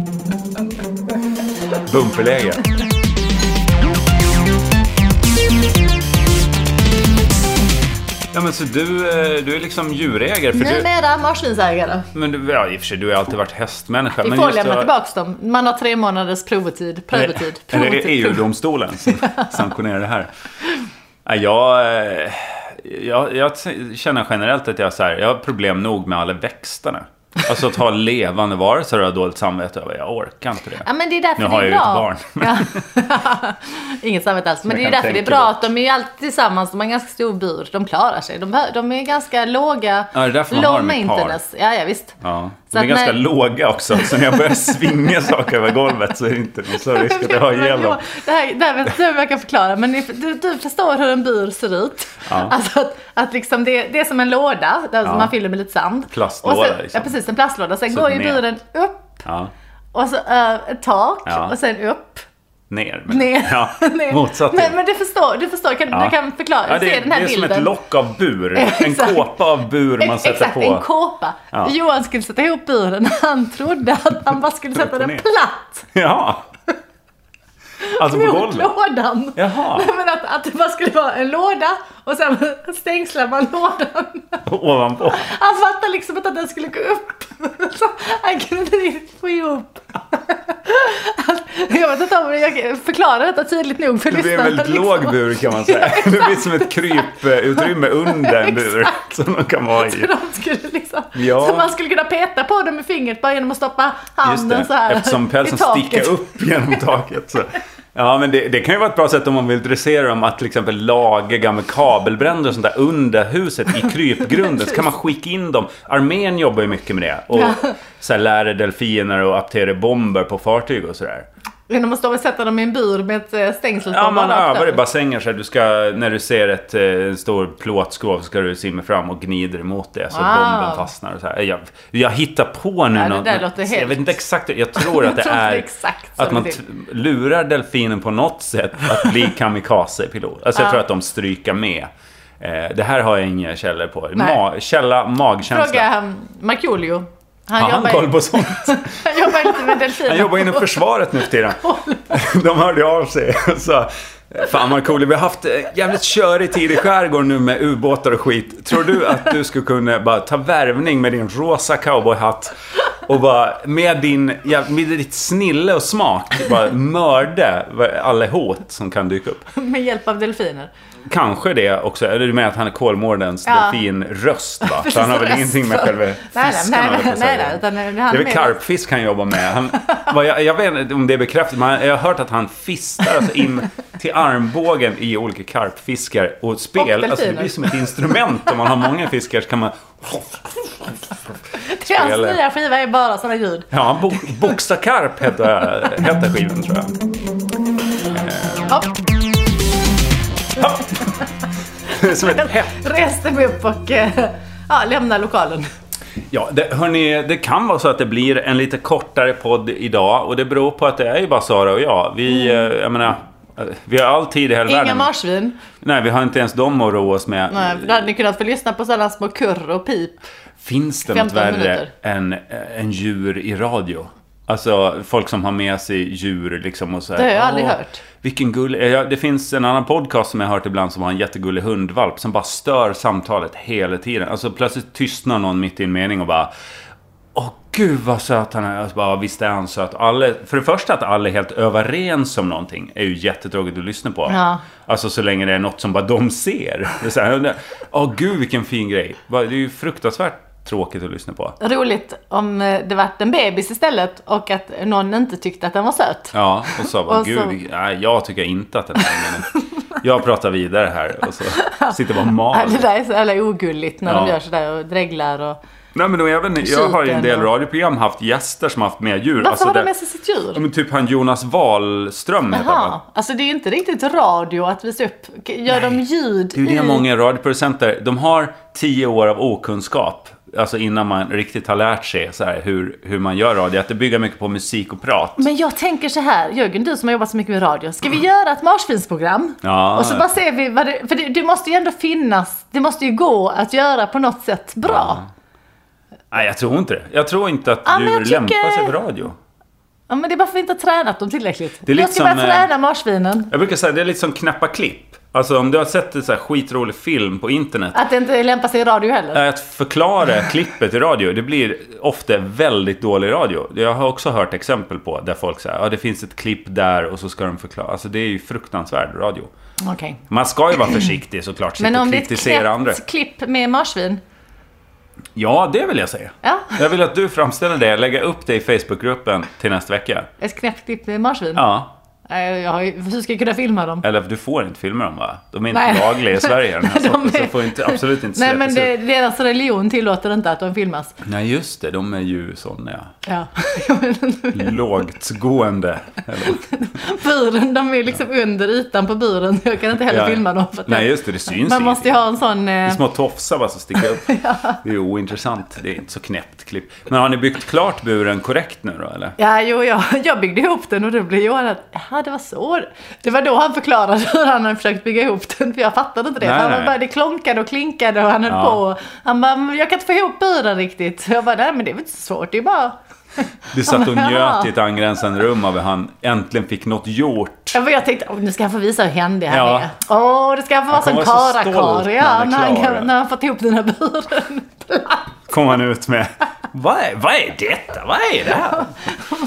Speaker 1: Bumperläge. Ja men så du, eh, du är liksom djurägare för
Speaker 2: Nu
Speaker 1: du,
Speaker 2: är det marsvinsägare.
Speaker 1: men du, ja, i och för sig, du har ju alltid varit hästmänniska.
Speaker 2: Vi
Speaker 1: men
Speaker 2: får
Speaker 1: just
Speaker 2: lämna
Speaker 1: du har-
Speaker 2: tillbaks dem. Man har tre månaders provotid. Provotid.
Speaker 1: Är det
Speaker 2: provotid. prov-
Speaker 1: EU-domstolen som sanktionerar det här? Nej, Jag, eh, jag, jag känner generellt att jag, så här, jag har problem nog med alla växterna. Alltså att ha levande varelser har jag dåligt samvete över. Jag orkar inte det.
Speaker 2: Ja men det är därför
Speaker 1: Nu
Speaker 2: det
Speaker 1: har
Speaker 2: är
Speaker 1: jag ju ett
Speaker 2: bra.
Speaker 1: barn.
Speaker 2: Ja. Inget samvete alls. Men
Speaker 1: jag
Speaker 2: det
Speaker 1: kan
Speaker 2: är därför det är
Speaker 1: tänka
Speaker 2: bra
Speaker 1: bort.
Speaker 2: att de är ju alltid tillsammans. De har en ganska stor bur. De klarar sig. De, behö- de är ganska låga.
Speaker 1: Ja, det är därför man
Speaker 2: low
Speaker 1: har dem i par.
Speaker 2: maintenance. Ja, ja visst.
Speaker 1: Ja. De
Speaker 2: Så
Speaker 1: är
Speaker 2: att
Speaker 1: ganska
Speaker 2: när-
Speaker 1: låga också. Så när jag börjar svinga saker över golvet så är det inte någon större risk att jag har ihjäl dem.
Speaker 2: Det här, det här vet jag hur jag kan förklara, men ni- du, du förstår hur en bur ser ut.
Speaker 1: Ja.
Speaker 2: Alltså att, att liksom det, det är som en låda där som man fyller med lite sand.
Speaker 1: Plastlåda,
Speaker 2: Och sen,
Speaker 1: liksom.
Speaker 2: Ja, precis. En plastlåda. Sen
Speaker 1: Så
Speaker 2: går ju
Speaker 1: ner.
Speaker 2: buren upp
Speaker 1: Ja.
Speaker 2: och så över ett tak
Speaker 1: Ja.
Speaker 2: och sen upp.
Speaker 1: Ner. men-
Speaker 2: Ner.
Speaker 1: Ja.
Speaker 2: ner.
Speaker 1: Motsatt till.
Speaker 2: Men, men du förstår, du förstår. Kan,
Speaker 1: Ja.
Speaker 2: Du kan förklara.
Speaker 1: Ja, det,
Speaker 2: se den här
Speaker 1: det är som
Speaker 2: bilden.
Speaker 1: ett lock av bur. En
Speaker 2: Exakt.
Speaker 1: kåpa av bur man sätter
Speaker 2: Exakt,
Speaker 1: på.
Speaker 2: en kåpa.
Speaker 1: Ja.
Speaker 2: Johan skulle sätta ihop buren. Han trodde att han bara skulle
Speaker 1: Upp
Speaker 2: sätta
Speaker 1: och
Speaker 2: den
Speaker 1: ner.
Speaker 2: platt
Speaker 1: Ja. Alltså på
Speaker 2: mot
Speaker 1: golvet?
Speaker 2: lådan.
Speaker 1: Jaha,
Speaker 2: Nej, men att, att det bara skulle vara en låda och sen stängslar man lådan.
Speaker 1: ovanpå.
Speaker 2: Han fattade liksom inte att den skulle gå upp. Så han kunde inte riktigt få ihop. Att- Jag vet inte om jag förklarar detta tydligt nog för
Speaker 1: Det blir en
Speaker 2: lyssnarna,
Speaker 1: väldigt
Speaker 2: liksom.
Speaker 1: låg bur kan man säga. det blir som ett kryputrymme under en bur som de kan vara i.
Speaker 2: Så, de skulle liksom,
Speaker 1: Ja.
Speaker 2: så man skulle kunna peta på dem med fingret bara genom att stoppa
Speaker 1: Just
Speaker 2: handen så
Speaker 1: det,
Speaker 2: här
Speaker 1: eftersom pälsen
Speaker 2: i taket.
Speaker 1: sticker upp genom taket. Så. Ja, men det, det kan ju vara ett bra sätt om man vill dressera dem att till exempel laga gamla kabelbränder och sånt där under huset i krypgrunden. Så kan man skicka in dem. Armén jobbar ju mycket med det. Och så här, lära delfiner och aptera bomber på fartyg och sådär.
Speaker 2: Genom att stå och sätta dem i en bur med ett eh, stängsel
Speaker 1: Ja,
Speaker 2: som
Speaker 1: man
Speaker 2: bara
Speaker 1: övar i
Speaker 2: öppnar.
Speaker 1: bassängen så här, du ska, när du ser ett eh, stor plåtskåp så ska du simma fram och gnider emot det så
Speaker 2: Wow.
Speaker 1: bomben fastnar och så här. Jag, jag hittar på nu
Speaker 2: Ja, det
Speaker 1: något.
Speaker 2: där låter
Speaker 1: jag vet
Speaker 2: hemskt.
Speaker 1: inte exakt, jag tror att det
Speaker 2: Jag tror
Speaker 1: är
Speaker 2: exakt så
Speaker 1: att man
Speaker 2: det är.
Speaker 1: t- lurar delfinen på något sätt att bli kamikazepilot. Alltså jag tror att de stryker med. Eh, det här har jag inga källor på.
Speaker 2: Nej.
Speaker 1: Ma- källa magkänsla.
Speaker 2: Fråga um, Markoolio. Han,
Speaker 1: Har han
Speaker 2: jobbar-
Speaker 1: koll på sånt?
Speaker 2: han jobbar inte med delfiner.
Speaker 1: Han jobbar inom försvaret nu för tiden. De hörde av sig och sa Fan Markoolio, vi har haft eh, jävligt körig tid i skärgården nu med ubåtar och skit. Tror du att du skulle kunna bara ta värvning med din rosa cowboyhatt och bara med, din, ja, med ditt snille och smak bara mörda alla hot som kan dyka upp.
Speaker 2: Med hjälp av delfiner.
Speaker 1: Kanske det också, eller du menar att han är Kolmårdens
Speaker 2: Ja.
Speaker 1: delfinröst va? Så han har väl
Speaker 2: Röst.
Speaker 1: ingenting med själva
Speaker 2: Nej, nej,
Speaker 1: fiskarna
Speaker 2: nej,
Speaker 1: höll jag på
Speaker 2: nej,
Speaker 1: att
Speaker 2: nej,
Speaker 1: säga.
Speaker 2: nej, utan han
Speaker 1: Det är
Speaker 2: med-
Speaker 1: väl karpfisk han jobbar med. Han, vad jag, jag vet inte om det är bekräftat, men jag har hört att han fistar alltså in till armbågen i olika karpfiskar och spel.
Speaker 2: Och delfiner.
Speaker 1: alltså det blir som ett instrument. Om man har många fiskar så kan man...
Speaker 2: Det är Hans
Speaker 1: spel.
Speaker 2: nya skiva är bara sådana ljud.
Speaker 1: Ja, han bo, boxar karp heter, heter skivan tror jag.
Speaker 2: Hopp,
Speaker 1: Det är Som ett hett.
Speaker 2: reste mig upp och eh, ja, lämna lokalen.
Speaker 1: Ja, det, hörni, det kan vara så att det blir en lite kortare podd idag. Och det beror på att det är ju bara Sara och jag. Vi,
Speaker 2: Mm.
Speaker 1: eh, jag menar, eh, vi har all tid i hela
Speaker 2: Inga
Speaker 1: världen.
Speaker 2: marsvin.
Speaker 1: Nej, vi har inte ens dem att roa oss med.
Speaker 2: Nej, för då hade ni kunnat få lyssna på sådana små kurr och pip.
Speaker 1: Finns det något
Speaker 2: 15
Speaker 1: värre
Speaker 2: minuter.
Speaker 1: än, än djur i radio? Alltså folk som har med sig djur liksom och så här,
Speaker 2: Det har jag aldrig
Speaker 1: "Åh,
Speaker 2: hört."
Speaker 1: Vilken gullig... Ja, det finns en annan podcast som jag har hört ibland som har en jättegullig hundvalp som bara stör samtalet hela tiden. Alltså plötsligt tystnar någon mitt i en mening och bara Åh gud vad söt han är. Alltså, bara, visst är han söt. Alla, för det första att alla är helt överens om någonting är ju jättetråkigt att lyssna på.
Speaker 2: Ja.
Speaker 1: Alltså så länge det är något som bara de ser. Det är så här, Åh gud vilken fin grej. Bara, Det är ju fruktansvärt tråkigt att lyssna på.
Speaker 2: Roligt om eh, det vart en bebis istället och att någon inte tyckte att den var söt.
Speaker 1: Ja, och så bara
Speaker 2: Och så-
Speaker 1: gud, vilken- nej, jag tycker inte att den här meningen. Jag pratar vidare här och så sitter bara och
Speaker 2: Ja,
Speaker 1: mal.
Speaker 2: det där är så jävla ogulligt när de
Speaker 1: Ja.
Speaker 2: gör sådär och dreglar och...
Speaker 1: Nej men och även, jag har ju en del radioprogram haft gäster som haft med djur.
Speaker 2: Varför har de
Speaker 1: Alltså, det-
Speaker 2: med sig sitt djur?
Speaker 1: Ja, men typ han Jonas Wahlström heter han va?
Speaker 2: Jaha, alltså det är ju inte riktigt radio att visa upp. K- Gör de ljud
Speaker 1: Det är ju det
Speaker 2: i...
Speaker 1: många radioproducenter, de har tio år av okunskap. Alltså innan man riktigt har lärt sig så här, hur, hur man gör radio. Att det bygger mycket på musik och prat.
Speaker 2: Men jag tänker så här, Jörgen du som har jobbat så mycket med radio. Ska vi göra ett marsvinsprogram?
Speaker 1: Ja.
Speaker 2: Och så bara ser vi vad det... För det, det måste ju ändå finnas, det måste ju gå att göra på något sätt bra.
Speaker 1: Nej, jag tror inte det. Jag tror inte att
Speaker 2: Ja, men
Speaker 1: djur
Speaker 2: jag tycker-
Speaker 1: lämpar sig för radio.
Speaker 2: Ja, men det är bara för att vi inte har tränat dem tillräckligt.
Speaker 1: är lite
Speaker 2: jag ska bara
Speaker 1: som, eh,
Speaker 2: träna marsvinen.
Speaker 1: Jag brukar säga det är lite som knäppa klipp. Alltså om du har sett en så här skitrolig film på internet.
Speaker 2: Att det inte lämpar sig i radio heller.
Speaker 1: är Att förklara klippet i radio, det blir ofta väldigt dålig radio. Jag har också hört exempel på där folk säger ja det finns ett klipp där och så ska de förklara. Alltså det är ju fruktansvärd radio.
Speaker 2: Okej.
Speaker 1: Man ska ju vara försiktig såklart,
Speaker 2: Men
Speaker 1: sitta och
Speaker 2: om det är ett
Speaker 1: Typ kritisera andra.
Speaker 2: knäppt klipp med marsvin.
Speaker 1: Ja, det vill jag säga.
Speaker 2: Ja,
Speaker 1: Jag vill att du framställer det, lägga upp det i Facebookgruppen till nästa vecka.
Speaker 2: ett knäppt klipp med marsvin.
Speaker 1: Ja,
Speaker 2: Nej, Jag har ju, hur ska jag kunna filma dem?
Speaker 1: eller du får inte filma dem va? De är inte
Speaker 2: Nej.
Speaker 1: lagliga i Sverige. Den här
Speaker 2: Nej, de
Speaker 1: sorten,
Speaker 2: är-
Speaker 1: så får inte, absolut inte
Speaker 2: Nej men
Speaker 1: släppas
Speaker 2: det,
Speaker 1: ut.
Speaker 2: deras religion tillåter inte att de filmas.
Speaker 1: Nej, just det. De är ju sådana ja.
Speaker 2: Ja. Jag vet inte.
Speaker 1: lågtgående. Eller,
Speaker 2: buren, de är liksom under ytan på buren. Jag kan inte heller
Speaker 1: Ja.
Speaker 2: filma dem. För att
Speaker 1: Nej, just det. Det syns
Speaker 2: man
Speaker 1: ingenting.
Speaker 2: måste ju ha en sån...
Speaker 1: Det är
Speaker 2: Eh,
Speaker 1: Små tofsar bara som sticker upp. Det är ointressant. Det är inte så knäppt klipp. Men har ni byggt klart buren korrekt nu då eller?
Speaker 2: ja, jo, jag, jag byggde ihop den och då blev Johan att, ja det var så. Det var då han förklarade hur han hade försökt bygga ihop den. För jag fattade inte det.
Speaker 1: Nej,
Speaker 2: han
Speaker 1: nej.
Speaker 2: bara, det klonkade och klinkade och han höll
Speaker 1: Ja.
Speaker 2: på. Han bara, "Men jag kan inte få ihop buren riktigt. Så Jag bara, nej men det är väl inte så svårt. Det är bara...
Speaker 1: Du satt och
Speaker 2: Ja.
Speaker 1: njöt i ett angränsande rum av hur han äntligen fick något gjort.
Speaker 2: Ja, men Jag tänkte, åh, nu ska han få visa hur händig han
Speaker 1: Ja.
Speaker 2: är. Åh, det ska han få vara
Speaker 1: kommer
Speaker 2: som
Speaker 1: vara så stolt
Speaker 2: karlakarl.
Speaker 1: när han
Speaker 2: Ja,
Speaker 1: är
Speaker 2: när han,
Speaker 1: klar, ja.
Speaker 2: kan- när han fått ihop den här buren.
Speaker 1: Kom han ut med. Vad är, vad är detta? Vad är det här?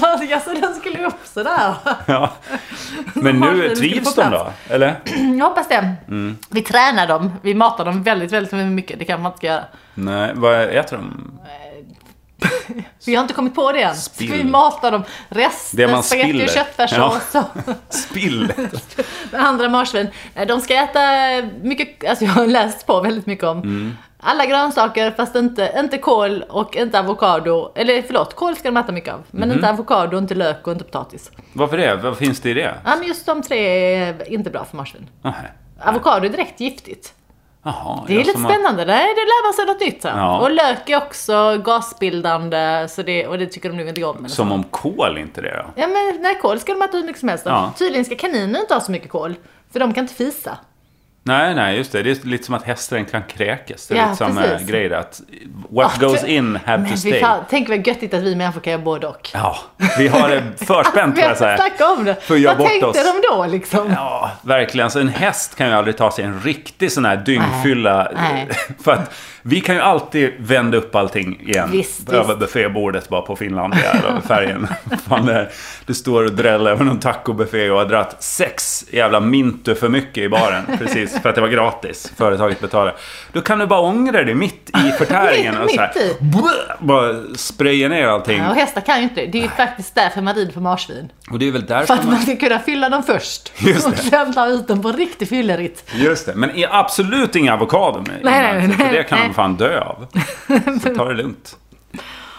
Speaker 2: Man- alltså den skulle upp sådär.
Speaker 1: Ja. Men nu
Speaker 2: Marsvinen skulle
Speaker 1: trivs
Speaker 2: få
Speaker 1: de då?
Speaker 2: plats.
Speaker 1: Eller?
Speaker 2: Jag hoppas det.
Speaker 1: Mm.
Speaker 2: Vi tränar dem. Vi matar dem väldigt, väldigt mycket. Det kan man inte göra.
Speaker 1: Nej, vad äter de?
Speaker 2: Vi har inte kommit på det än.
Speaker 1: Spill.
Speaker 2: Ska vi mata dem resten?
Speaker 1: Det man
Speaker 2: spagetti
Speaker 1: spiller.
Speaker 2: och köttfärssås och
Speaker 1: Spill!
Speaker 2: andra marsvin. Nej, De ska äta mycket, alltså jag har läst på väldigt mycket om
Speaker 1: Mm.
Speaker 2: alla grönsaker fast inte, inte kål och inte avokado. Eller förlåt, kål ska de äta mycket av.
Speaker 1: Mhm.
Speaker 2: Men inte avokado, inte lök och inte potatis.
Speaker 1: Varför det? Vad finns det i det?
Speaker 2: Ja, men just de tre är inte bra för marsvin.
Speaker 1: Nej.
Speaker 2: Avokado är direkt giftigt.
Speaker 1: Jaha,
Speaker 2: Det är
Speaker 1: jag
Speaker 2: lite
Speaker 1: som har-
Speaker 2: spännande. Nej, det lär man sig något nytt här.
Speaker 1: Ja.
Speaker 2: Och lök är också gasbildande så det, och det tycker de nog inte om. eller så.
Speaker 1: Som om kol inte det då?
Speaker 2: Ja men nej, kol ska de äta hur mycket som helst.
Speaker 1: Ja.
Speaker 2: Tydligen ska kaniner inte ha så mycket kol. För de kan inte fisa.
Speaker 1: Nej, nej, just det. Det är lite som att hästar inte kan kräkas. Det är
Speaker 2: Ja,
Speaker 1: lite samma
Speaker 2: precis.
Speaker 1: grej där. Att what
Speaker 2: Ah,
Speaker 1: goes
Speaker 2: för-
Speaker 1: in have to
Speaker 2: Men
Speaker 1: stay.
Speaker 2: vi fan, tänk vad göttigt att vi människor kan göra både och.
Speaker 1: Ja, vi har det förspänt
Speaker 2: Vi
Speaker 1: kan
Speaker 2: har
Speaker 1: jag säga.
Speaker 2: snackat om det.
Speaker 1: För att göra
Speaker 2: Vad
Speaker 1: bort
Speaker 2: tänkte
Speaker 1: oss.
Speaker 2: de då liksom?
Speaker 1: Ja, verkligen. Så en häst kan ju aldrig ta sig en riktig sån här dyngfylla.
Speaker 2: Nej.
Speaker 1: För att vi kan ju alltid vända upp allting igen.
Speaker 2: Visst,
Speaker 1: Över
Speaker 2: visst.
Speaker 1: buffébordet bara på Finlandia, eller färgen. Fan, det, du står och dräller över någon tacobuffé och har dragit sex jävla mintu för mycket i baren. Precis, för att det var gratis. Företaget betalade. Då kan du bara ångra dig mitt i förtäringen och så här,
Speaker 2: Mitt i.
Speaker 1: blö, Bara spraya ner allting.
Speaker 2: Ja, och hästar kan ju inte det. Det är ju faktiskt därför man rider på marsvin.
Speaker 1: Och det är väl därför
Speaker 2: För att man ska kunna fylla dem först.
Speaker 1: Just
Speaker 2: och
Speaker 1: det.
Speaker 2: sen ta ut dem på en riktig fylleritt.
Speaker 1: Just det, men i- absolut inga avokado med. i
Speaker 2: Nej,
Speaker 1: den,
Speaker 2: nej,
Speaker 1: för
Speaker 2: nej,
Speaker 1: det kan
Speaker 2: nej.
Speaker 1: de fan dö av. Så ta det lugnt.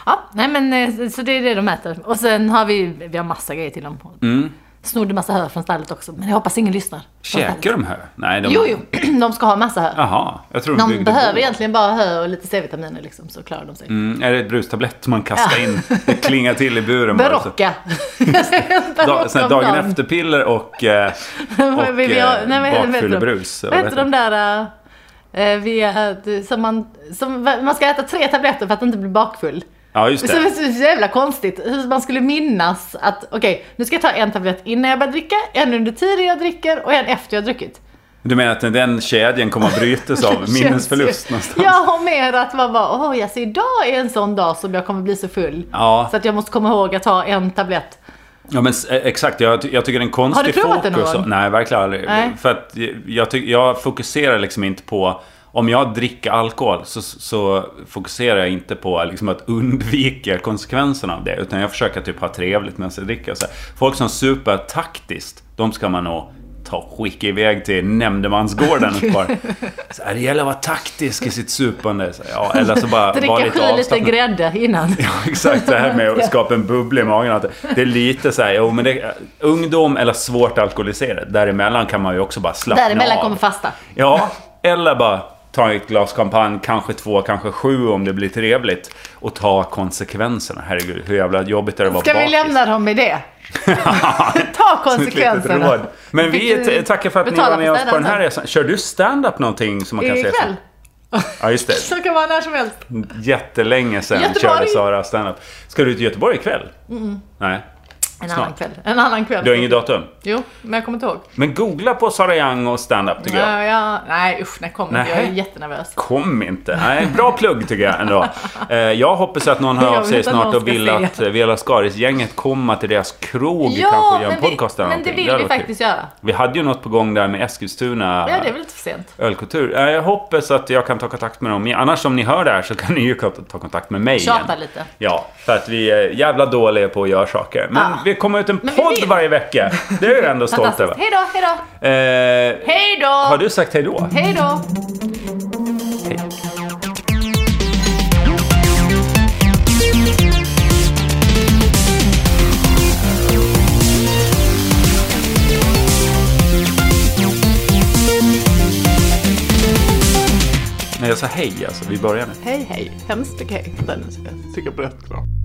Speaker 2: Ja, nej men eh, så det är det de äter. Och sen har vi, vi har massa grejer till dem.
Speaker 1: Mm.
Speaker 2: Snodde massa hö från stallet också, men jag hoppas ingen lyssnar. från stallet.
Speaker 1: Käkar de hö? Nej, de...
Speaker 2: Jo, jo, de ska ha massa hö.
Speaker 1: Jaha, jag tror de,
Speaker 2: De
Speaker 1: byggde
Speaker 2: behöver
Speaker 1: bo.
Speaker 2: egentligen bara hö och lite C-vitaminer liksom, så klarar de sig.
Speaker 1: Mm, är det ett brustablett man kastar in? Det klingar till i buren bara. så-
Speaker 2: Barocca.
Speaker 1: Da,
Speaker 2: Barocca
Speaker 1: alltså. sån här
Speaker 2: om
Speaker 1: dagen
Speaker 2: dagen.
Speaker 1: efter-piller och, eh, och
Speaker 2: Vi- vi har- nej, men-
Speaker 1: eh,
Speaker 2: vad heter de?
Speaker 1: bakfyllebrus.
Speaker 2: Vad heter de där... eh, Vi är, som man, som, man ska äta tre tabletter för att inte bli bakfull.
Speaker 1: Ja, just
Speaker 2: Så det är
Speaker 1: det.
Speaker 2: så jävla konstigt hur man skulle minnas att okej, nu ska jag ta en tablett innan jag börjar dricka, en under tiden jag dricker och en efter jag har druckit.
Speaker 1: Du menar att den kedjan kommer att brytas av
Speaker 2: Det känns
Speaker 1: minnesförlust
Speaker 2: ju-
Speaker 1: någonstans?
Speaker 2: Ja, och mer att man bara, åh yes, idag är en sån dag som jag kommer bli så full.
Speaker 1: Ja.
Speaker 2: Så att jag måste komma ihåg att ta en tablett.
Speaker 1: Ja men s- eh, exakt, jag, ty- jag tycker det är en konstig
Speaker 2: Har du provat det någon
Speaker 1: fokus-
Speaker 2: gång?
Speaker 1: Nej, verkligen aldrig.
Speaker 2: Nej.
Speaker 1: För att jag- jag, tyck, jag fokuserar liksom inte på... Om jag dricker alkohol så, så fokuserar jag inte på liksom att undvika konsekvenserna av det. Utan jag försöker typ ha trevligt medan jag dricker. Så här, folk som super taktiskt, de ska man nog ta skicka iväg till nämndemansgården ett par. Så här, det gäller att vara taktisk i sitt supande. Så här, ja, eller så bara vara
Speaker 2: Dricka
Speaker 1: lite
Speaker 2: sju lite
Speaker 1: avslappnad.
Speaker 2: grädde innan.
Speaker 1: Ja, exakt det här med att skapa en bubbla i magen. Att det är lite så här, jo, men det, eh, ungdom eller svårt alkoholiserad. Däremellan kan man ju också bara slappna
Speaker 2: Däremellan
Speaker 1: av.
Speaker 2: kommer fasta.
Speaker 1: Ja, eller bara ta ett glas champagne, kanske två, kanske sju om det blir trevligt. Och ta konsekvenserna. Herregud, hur jävla jobbigt är det att vara
Speaker 2: Ska vi
Speaker 1: bakis?
Speaker 2: lämna dem med det? ta
Speaker 1: Som ett litet
Speaker 2: konsekvenserna.
Speaker 1: råd. Men vi
Speaker 2: Fick du
Speaker 1: t- tackar för att ni
Speaker 2: betala
Speaker 1: var med
Speaker 2: för
Speaker 1: oss på den här
Speaker 2: städandet?
Speaker 1: resan. Kör du stand-up någonting som man kan säga?
Speaker 2: Ikväll.
Speaker 1: Ja, just det.
Speaker 2: Så kan vara när som helst.
Speaker 1: Jättelänge sedan
Speaker 2: Göteborg.
Speaker 1: körde Sara stand-up. Ska du till Göteborg ikväll? Nej.
Speaker 2: En
Speaker 1: Snart.
Speaker 2: annan kväll. En annan kväll.
Speaker 1: Du har inget datum?
Speaker 2: Jo, men jag kommer inte ihåg.
Speaker 1: Men googla på Sara Young och stand-up tycker jag.
Speaker 2: Nej, jag, nej usch, när kommer
Speaker 1: Nej.
Speaker 2: Jag är jättenervös.
Speaker 1: Kom inte. Nej, bra plugg tycker jag ändå. Eh, Jag hoppas att någon
Speaker 2: Jag
Speaker 1: hör av
Speaker 2: vet
Speaker 1: sig
Speaker 2: att
Speaker 1: snart
Speaker 2: någon
Speaker 1: och
Speaker 2: ska
Speaker 1: vill
Speaker 2: se.
Speaker 1: att eh, Vela Skaris-gänget kommer till deras krog och kanske gör en
Speaker 2: men,
Speaker 1: podcast
Speaker 2: vi,
Speaker 1: eller
Speaker 2: men det
Speaker 1: någonting.
Speaker 2: vill
Speaker 1: hade
Speaker 2: vi
Speaker 1: varit kul.
Speaker 2: faktiskt göra.
Speaker 1: Vi hade ju något på gång där med Eskilstuna
Speaker 2: Ja, det är väl lite för sent.
Speaker 1: ölkultur. Eh, Jag hoppas att jag kan ta kontakt med dem. Annars om ni hör det här så kan ni ju ta kontakt med mig
Speaker 2: Tjata
Speaker 1: igen.
Speaker 2: lite.
Speaker 1: Ja, för att vi är jävla dåliga på att göra saker. Men
Speaker 2: Ah.
Speaker 1: vi kommer ut en
Speaker 2: Men vi
Speaker 1: podd
Speaker 2: vill.
Speaker 1: varje vecka. Det är jag ändå stolt
Speaker 2: Fantastiskt.
Speaker 1: över.
Speaker 2: Hej då, hej
Speaker 1: Eh,
Speaker 2: då. Hej då!
Speaker 1: Har du sagt hej då?
Speaker 2: Hej då!
Speaker 1: Nej, jag sa hej alltså. Vi börjar nu.
Speaker 2: Hej hej, hemskt okej. Den är så-
Speaker 1: alltså. Tycker jag berättar.